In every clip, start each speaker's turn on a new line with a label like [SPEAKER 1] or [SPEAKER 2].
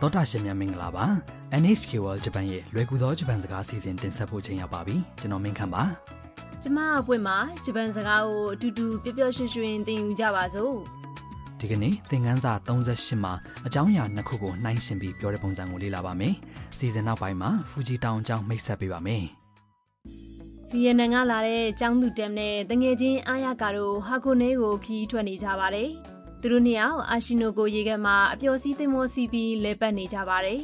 [SPEAKER 1] သောတာရှင်များမင်္ဂလာပါ NHK World Japan ရဲ့လွယ်ကူသောဂျပန်စကားအစီအစဉ်တင်ဆက်ဖို့ချိန်ရောက်ပါပြီကျွန်တော်မင်းခမ်းပါ
[SPEAKER 2] ကျမအပွင့်မှာဂျပန်စကားကိုအတူတူပျော်ပျော်ရွှင်ရွှင်သင်ယူကြပါစို့
[SPEAKER 1] ဒီကနေ့သင်ခန်းစာ38မှာအကြောင်းအရာနှစ်ခုကိုနှိုင်းယှဉ်ပြီးပြောတဲ့ပုံစံကိုလေ့လာပါမယ်စီစဉ်နောက်ပိုင်းမှာဖူဂျီတောင်အကြောင်းမိတ်ဆက်ပေးပါမယ်
[SPEAKER 2] ဗီယက်နမ်ကလာတဲ့ကျောင်းသူတမ်နဲ့တငယ်ချင်းအာရကာတို့ဟာခိုနဲကိုခီးထွက်နေကြပါတယ်သူတို့နှစ်ယောက်အာရှိနိုကိုရေခဲမှာအပျော်စီးသင်မောစီးပြီးလဲပတ်နေကြပါတယ်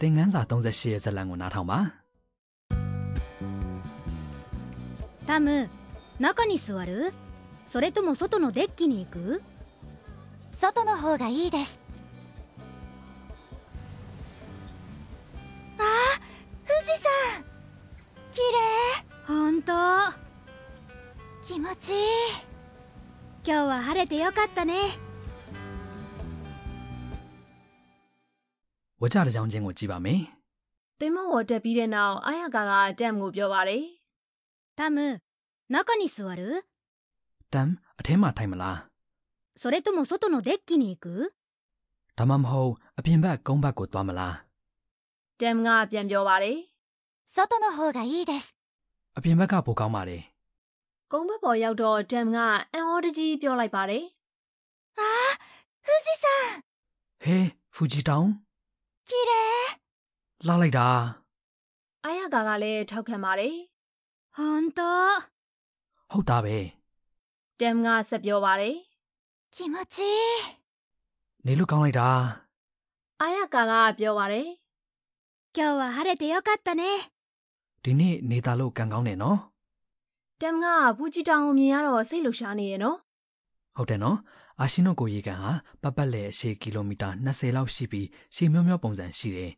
[SPEAKER 1] သင်ခန်းစာ38ရဲ့ဇာတ်လမ်းကိုနားထောင်ပါ
[SPEAKER 3] タム中に座るそれとも外のデッキに行く外の方がいいですあ富士山綺麗本当気持ちいい今日は晴れてよかったね
[SPEAKER 1] ဝါကြတစ်ကြောင်းချင်းကိုကြည့်ပါမယ်
[SPEAKER 2] သင်မောဝတက်ပြီးတဲ့နောက်အာရကာကတမ်ကိုပြောပါတယ်
[SPEAKER 3] タム中に座る
[SPEAKER 1] တမ်အထဲမှာထိုင်မလား
[SPEAKER 3] それとも外のデッキに行く
[SPEAKER 1] ဒါမှမဟုတ်အပြင်ဘက်ကုန်းဘက်ကိုသွားမလား
[SPEAKER 2] တမ်ကပြန်ပြောပါတယ်
[SPEAKER 3] 外の方がいいです
[SPEAKER 1] အပြင်ဘက်ကပိုကောင်းပါတယ်
[SPEAKER 2] ကုန်းဘက်ပေါ်ရောက်တော့တမ်ကအန်အော်တကြီးပြောလိုက်ပါတယ်
[SPEAKER 3] 富士山
[SPEAKER 1] ဟေးဖူဂျီတောင်
[SPEAKER 3] 綺麗
[SPEAKER 1] လာလိုက်တာ
[SPEAKER 2] အာရကာကလည်းထောက်ခံပါတယ်
[SPEAKER 3] 本当
[SPEAKER 1] ဟုတ်တာပဲ
[SPEAKER 2] တမ်ကဆက်ပြောပါတယ်
[SPEAKER 3] 気持ちいい
[SPEAKER 1] နေလို့ကောင်းလိုက်တာ
[SPEAKER 2] အာရကာကပြောပါတယ်
[SPEAKER 3] 今日は晴れてよかったね
[SPEAKER 1] ဒီနေ့နေသားလို့ကံကောင်းတယ်နော်
[SPEAKER 2] တမ်ကဘူဂျီတောင်ကိုမြင်ရတော့စိတ်လှုပ်ရှားနေရဲ့နော်
[SPEAKER 1] ဟုတ်တယ်နော်အာရှီနိုကိုရေကန်ဟာပတ်ပတ်လည်အရှည်ကီလိုမီတာ20လောက်ရှိပြီးရှည်မြောမြောပုံစံရှိတယ်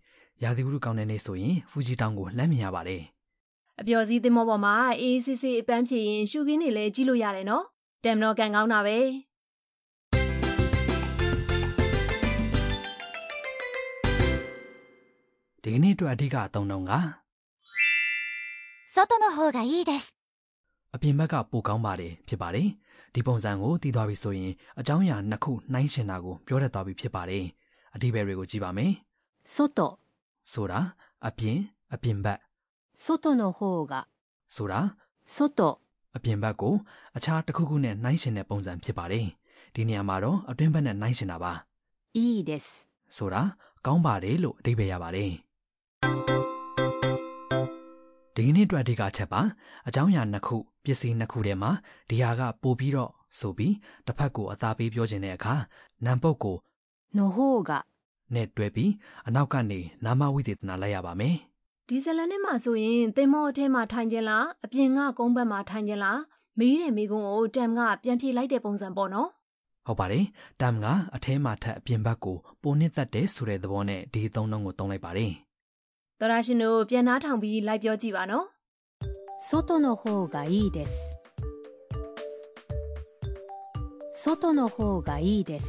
[SPEAKER 1] ရာသီဥတုကောင်းတဲ့နေ့ဆိုရင်ဖူဂျီတောင်ကိုလက်မြင်ရပါတယ်
[SPEAKER 2] အပျော်စီးသင်္ဘောပေါ်မှာအေးအေးဆေးဆေးအပန်းဖြေရင်ရှူကင်းတွေလည်းကြီးလို့ရတယ်နော်တမ်တော့ကန်ကောင်းတာပဲ
[SPEAKER 1] ဒီကနေ့အတွက်အဓိကအသုံးတော့က
[SPEAKER 3] 外の方がいいです
[SPEAKER 1] အပြင်ဘက်ကပိုကောင်းပါတယ်ဖြစ်ပါတယ်ဒီပုံစံကိုသိသွားပြီဆိုရင်အကြောင်းအရာနှစ်ခုနှိုင်းရှင်တာကိုပြောတတ်သွားပြီဖြစ်ပါတယ်အဓိပ္ပာယ်တွေကိုကြည့်ပါမယ်
[SPEAKER 3] 外
[SPEAKER 1] ဆိုတာအပြင်အပြင်ဘက်
[SPEAKER 3] 外の方が
[SPEAKER 1] ဆိုတာ
[SPEAKER 3] 外
[SPEAKER 1] အပြင်ဘက်ကိုအခြားတစ်ခုခုနဲ့နှိုင်းယှဉ်တဲ့ပုံစံဖြစ်ပါတယ်။ဒီနေရာမှာတော့အတွင်းဘက်နဲ့နှိုင်းယှဉ်တာပါ
[SPEAKER 3] いいです
[SPEAKER 1] ။ဆိုတာကောင်းပါတယ်လို့အဓိပ္ပာယ်ရပါတယ်။ဒီကနေ့အတွက်အဓိကအချက်ပါအကြောင်းအရာနှစ်ခုပစ္စည်းနှစ်ခုထဲမှာဒီဟာကပို့ပြီးတော့ဆိုပြီးတစ်ဖက်ကိုအသာပေးပြောခြင်းတဲ့အခါနံပုတ်ကို
[SPEAKER 3] の方が
[SPEAKER 1] နဲ့တွဲပြီးအနောက်ကနေနာမဝိသေသနာလိုက်ရပါမယ်
[SPEAKER 2] ဒီဇလန်နဲ့မှဆိုရင်သင်္ဘောအထက်မှာထိုင်ခြင်းလားအပြင်ကကုန်းဘက်မှာထိုင်ခြင်းလားမေးတဲ့မေးခွန်းကိုတမ်ကပြန်ဖြေလိုက်တဲ့ပုံစံပေါ့နော်
[SPEAKER 1] ။ဟုတ်ပါတယ်။တမ်ကအထဲမှာထက်အပြင်ဘက်ကိုပိုနစ်သက်တယ်ဆိုတဲ့သဘောနဲ့ဒီအသုံးနှုန်းကိုသုံးလိုက်ပါတယ်။
[SPEAKER 2] သောရရှင်တို့ပြန်နှားထောင်ပြီးလိုက်ပြောကြည့်ပါနော်
[SPEAKER 3] 外の方がいいです外の方がいいです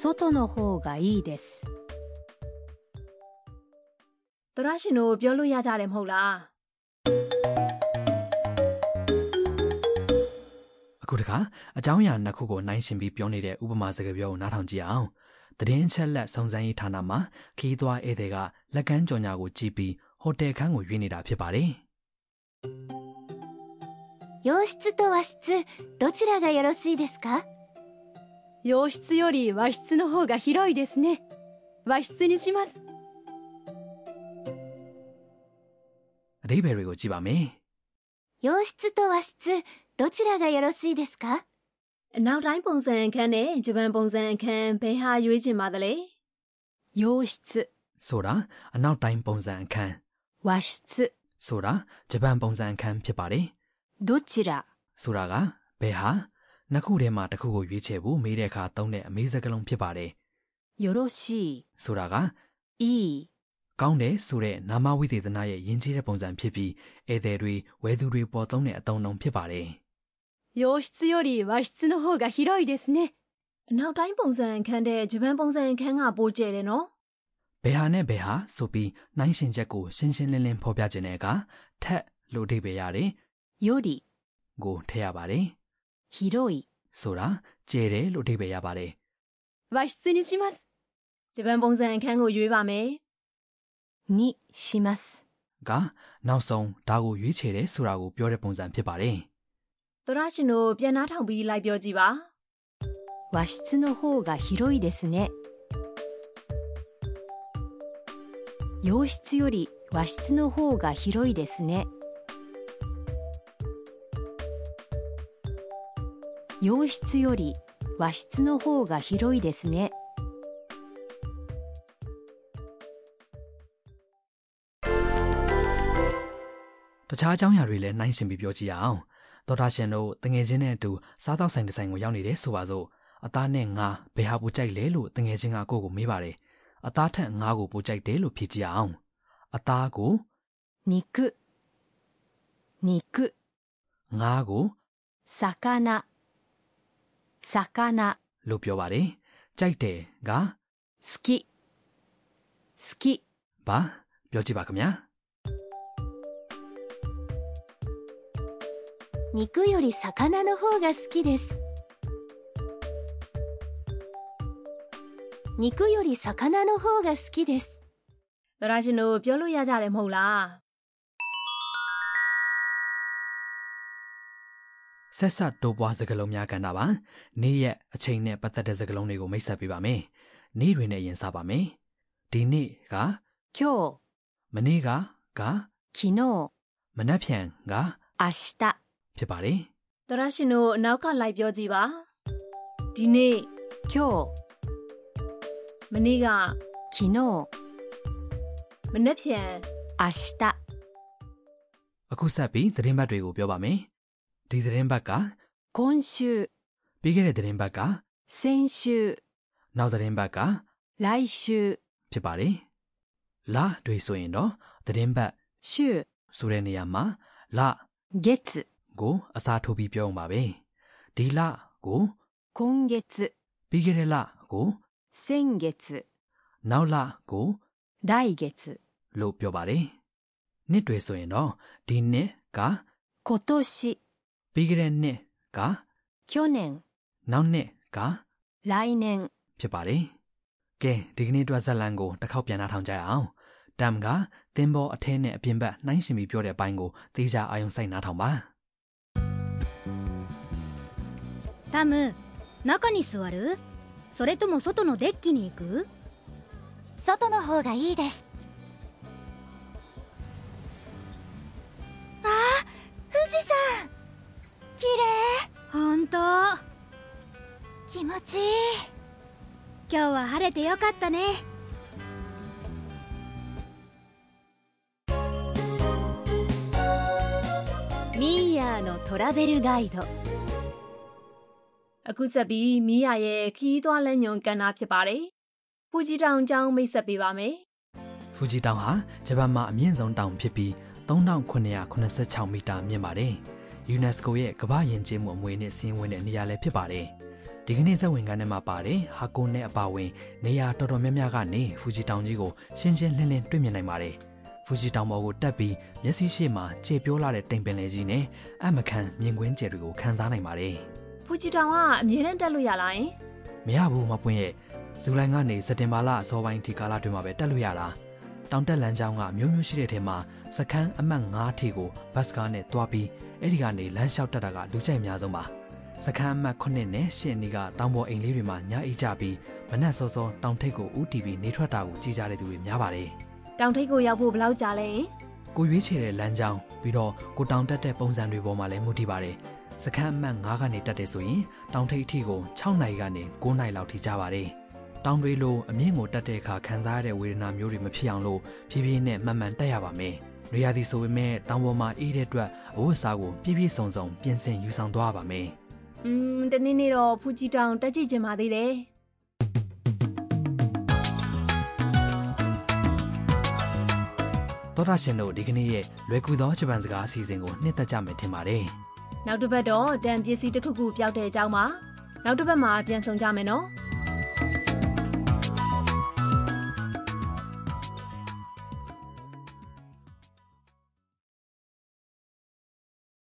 [SPEAKER 3] 外の方がいいです
[SPEAKER 2] သောရရှင်တို့ပြောလို့ရကြတယ်မဟုတ်လား
[SPEAKER 1] အခုတခါအကြောင်းအရာနှစ်ခုကိုနှိုင်းယှဉ်ပြီးပြောနေတဲ့ဥပမာစကားပြောကိုနားထောင်ကြည့်အောင်သတင်းအချက်လက်စုံစမ်းရေးဌာနမှာခီးသွွားဧည့်သည်ကလက်ကမ်းကြော်ညာကိုကြည့်ပြီးဟိုတယ်ခန်းကိုရွေးနေတာဖြစ်ပါတယ်
[SPEAKER 3] 洋室と和室どちらがよろしいですか
[SPEAKER 4] 洋室より和室の方が広いですね和室にします
[SPEAKER 1] အဓိပ္ပာယ်တွေကိုကြည့်ပါမယ်
[SPEAKER 3] 洋室と和室どちらがよろしいですか
[SPEAKER 2] အနောက်တိုင်းပုံစံအခန်းနဲ့ဂျပန်ပုံစံအခန်းဘယ်ဟာရွေးချင်ပါသလဲ
[SPEAKER 4] 洋室
[SPEAKER 1] ဆိုတာအနောက်တိုင်းပုံစံအခန်း
[SPEAKER 4] 和室
[SPEAKER 1] ဆိုတာဂျပန်ပုံစံအခန်းဖြစ်ပါတယ်
[SPEAKER 4] どちら
[SPEAKER 1] ဆိုတာကဘယ်ဟာနှစ်ခုထဲမှာတစ်ခုကိုရွေးချယ်ဖို့မေးတဲ့အခါသုံးတဲ့အမေးစကားလုံးဖြစ်ပါတယ်
[SPEAKER 4] よろし
[SPEAKER 1] ဆိုတာက
[SPEAKER 4] いいい
[SPEAKER 1] ကောင်းတယ်ဆိုတဲ့နာမဝိသေသနာရဲ့ယဉ်ကျေးတဲ့ပုံစံဖြစ်ပြီးဧည့်သည်တွေဝယ်သူတွေပေါ်သုံးတဲ့အသုံးအနှုန်းဖြစ်ပါတယ်
[SPEAKER 4] 洋室より和室の方が広いですね
[SPEAKER 2] အနောက်တိုင်းပုံစံအခန်းတဲ့ဂျပန်ပုံစံအခန်းကပိုကျယ်တယ်နော်
[SPEAKER 1] ။ဘယ်ဟာနဲ့ဘယ်ဟာဆိုပြီးနှိုင်းရှင်ချက်ကိုရှင်းရှင်းလင်းလင်းဖော်ပြခြင်းတဲ့အခါထက်လို့အဓိပ္ပာယ်ရတယ်
[SPEAKER 4] より
[SPEAKER 1] ကိုထည့်ရပါတယ်
[SPEAKER 4] 広い
[SPEAKER 1] ။ဆိုတာကျယ်တယ်လို့အဓိပ္ပာယ်ရပါတယ်
[SPEAKER 4] 和室にします。
[SPEAKER 2] ဂျပန်ပုံစံအခန်းကိုရွေးပါမယ်
[SPEAKER 4] にします。
[SPEAKER 1] ကနောက်ဆုံးဒါကိုရွေးချယ်တယ်ဆိုတာကိုပြောတဲ့ပုံစံဖြစ်ပါတယ်
[SPEAKER 2] သောရရှင်တို့ပြန်နှားထောင်ပြီးလိုက်ပြောကြည့်ပါ
[SPEAKER 4] 和室の方が広いですね。洋室より和室の方が広いですね。洋室より和室の方が広いですね。
[SPEAKER 1] ။တခြားအကြောင်းအရာတွေလည်းနှိုင်းယှဉ်ပြီးပြောကြည့်ရအောင်။သောတာရှင်တို့တငယ်ချင်းနဲ့အတူစားတောက်ဆိုင်တစ်ဆိုင်ကိုရောက်နေတယ်ဆိုပါစို့။အသားနဲ့ငါဘယ်ဟာပူကြိုက်လဲလို့တငယ်ချင်းကကိုယ့်ကိုမေးပါတယ်။အသားထက်ငါကိုပူကြိုက်တယ်လို့ဖြေကြည့်ရအောင်။အသားကို
[SPEAKER 4] 肉、肉、
[SPEAKER 1] ငါကို
[SPEAKER 4] 魚、魚、
[SPEAKER 1] လို့ပြောပါတယ်။ကြိုက်တယ်က
[SPEAKER 4] 好き、好き、
[SPEAKER 1] ဘာပြောကြည့်ပါခင်ဗျာ
[SPEAKER 3] 肉より魚の方が好きです肉より魚の方が好きです
[SPEAKER 2] သောရရှင်တို့ပြောလို့ရကြတယ်မဟုတ်လား
[SPEAKER 1] ။ဆက်ဆက်တိုးပွားစကားလုံးများကန်တာပါ။နေ့ရက်အချိန်နဲ့ပတ်သက်တဲ့စကားလုံးတွေကိုမိတ်ဆက်ပေးပါမယ်။နေ့တွေနဲ့ရင်စားပါမယ်။ဒီနေ့က
[SPEAKER 4] 今
[SPEAKER 1] မနေ့ကက
[SPEAKER 4] 日、昨日、明
[SPEAKER 1] မနက်ဖြန်က
[SPEAKER 4] 日、
[SPEAKER 1] ဖြစ်ပါတယ်
[SPEAKER 2] သောရရှင်တို့အနောက်ကလိုက်ပြောကြည့်ပါဒီနေ့
[SPEAKER 4] 今日、
[SPEAKER 2] မနေ့က
[SPEAKER 4] 昨日、明
[SPEAKER 2] မနေ့ဖြန်
[SPEAKER 4] 日、
[SPEAKER 1] ။အခုဆက်ပြီးသတင်းဘတ်တွေကိုပြောပါမယ်။ဒီသတင်းဘတ်က
[SPEAKER 4] 今週、
[SPEAKER 1] ပြီးခဲ့တဲ့သတင်းဘတ်က
[SPEAKER 4] 先週、
[SPEAKER 1] နောက်သတင်းဘတ်က
[SPEAKER 4] 来週、
[SPEAKER 1] ဖြစ်ပါတယ်။လတွေဆိုရင်တော့သတင်းဘတ်
[SPEAKER 4] 週、
[SPEAKER 1] ဆိုတဲ့နေရာမှာလ
[SPEAKER 4] 月、
[SPEAKER 1] ကိုအစားထိုးပြီးပြောအောင်ပါပဲ။ဒီလကို
[SPEAKER 4] 今月、
[SPEAKER 1] ပြီးခဲ့တဲ့လကို
[SPEAKER 4] 先月、
[SPEAKER 1] နောက်လကို
[SPEAKER 4] 来月、
[SPEAKER 1] လို့ပြောပါတယ်။နှစ်တွေဆိုရင်တော့ဒီနှစ်က
[SPEAKER 4] 今年、
[SPEAKER 1] ပြီးခဲ့တဲ့နှစ်က
[SPEAKER 4] 去年、
[SPEAKER 1] နောက်နှစ်က
[SPEAKER 4] 来年、
[SPEAKER 1] ဖြစ်ပါတယ်။ကဲဒီကနေ့အတွက်ဇာတ်လမ်းကိုတစ်ခေါက်ပြန်နှာထောင်ကြရအောင်။တမ်ကသင်္ဘောအထဲနဲ့အပြင်ဘက်နှိုင်းရှင်ပြီးပြောတဲ့အပိုင်းကိုသေချာအာရုံစိုက်နှာထောင်ပါ
[SPEAKER 3] タム中に座るそれとも外のデッキに行く外の方がいいですあ富士山綺麗本当気持ちいい今日は晴れてよかったね
[SPEAKER 4] ミーヤーのトラベルガイド、
[SPEAKER 2] အခုဆက်ပြီးမိယာရဲ့ခီးသွွားလက်ညွန်ကန်တာဖြစ်ပါတယ်ပူကြီးတောင်ကြောင်းမိတ်ဆက်ပေးပါမယ်
[SPEAKER 1] ။ဖူဂျီတောင်ဟာဂျပန်မှာအမြင့်ဆုံးတောင်ဖြစ်ပြီး3986မီတာမြင့်ပါတယ်။ UNESCO ရဲ့ကမ္ဘာယဉ်ကျေးမှုအမွေအနှစ်စည်းဝင်တဲ့နေရာလည်းဖြစ်ပါတယ်။ဒီကနေ့ဇက်ဝင်ကန်းထဲမှာပါတယ်ဟာကိုနဲ့အပါဝင်နေရာတော်တော်များများကနေဖူဂျီတောင်ကြီးကိုရှင်းရှင်းလင်းလင်းတွေ့မြင်နိုင်ပါတယ်။ဖူဂျီတောင်ပေါ်ကိုတက်ပြီးမျက်စိရှိမှခြေပြိုးလာတဲ့တိမ်ပင်လေကြီးနဲ့အမခံမြင်ကွင်းကျယ်တွေကိုခန်းစားနိုင်ပါတယ်။
[SPEAKER 2] ပူကြီးတောင်ကအမြဲတမ်းတက်လို့ရလားယင်
[SPEAKER 1] မရဘူးမပွင့်ရဲ့ဇူလိုင်ကနေစက်တင်ဘာလအစောပိုင်းဒီကာလတွင်မှာပဲတက်လို့ရတာတောင်တက်လမ်းကြောင်းကမျိုးမျိုးရှိတဲ့ထဲမှာစခန်းအမှတ်9ထီကိုဘတ်စကားနဲ့တွားပြီးအဲ့ဒီကနေလမ်းလျှောက်တက်တာကလူကြိုက်အများဆုံးပါစခန်းအမှတ်9နဲ့10နီးကတောင်ပေါ်အိမ်လေးတွေမှာညအိပ်ကြပြီးမနက်စောစောတောင်ထိပ်ကိုဦးတီပြီးနေထွက်တာကိုကြည်ကြတဲ့သူတွေများပါတယ်
[SPEAKER 2] တောင်ထိပ်ကိုရောက်ဖို့ဘယ်လောက်ကြာလဲယင်
[SPEAKER 1] ကိုရွေးချယ်တဲ့လမ်းကြောင်းပြီးတော့ကိုတောင်တက်တဲ့ပုံစံတွေပေါ်မှာလည်းမူတည်ပါတယ်။စခန်းအမှတ်9ကနေတက်တယ်ဆိုရင်တောင်ထိပ်အထိကို6နိုင်ကနေ9နိုင်လောက်ထိကြပါတယ်။တောင်တွေလိုအမြင့်ကိုတက်တဲ့အခါခံစားရတဲ့ဝေဒနာမျိုးတွေမဖြစ်အောင်လို့ဖြည်းဖြည်းနဲ့မှန်မှန်တက်ရပါမယ်။နေရာသည်ဆိုပေမဲ့တောင်ပေါ်မှာအေးတဲ့အတွက်အဝတ်အစားကိုပြည့်ပြည့်စုံစုံပြင်ဆင်ယူဆောင်သွားရပါမယ်
[SPEAKER 2] อืมတနေ့နေ့တော့ပူကြီးတောင်တက်ကြည့်ချင်ပါသေးတယ်
[SPEAKER 1] ။သောတာရှင်တို့ဒီကနေ့ရဲ့လွယ်ကူသောဂျပန်စကားအစီအစဉ်ကိုနှစ်သက်ကြမယ်ထင်ပါတယ်။
[SPEAKER 2] နောက်တစ်ပတ်တော့တန်ပစ္စည်းတစ်ခုခုပျောက်တဲ့အကြောင်းပါနောက်တစ်ပတ်မှာပြန်ဆောင်ကြမယ်နော်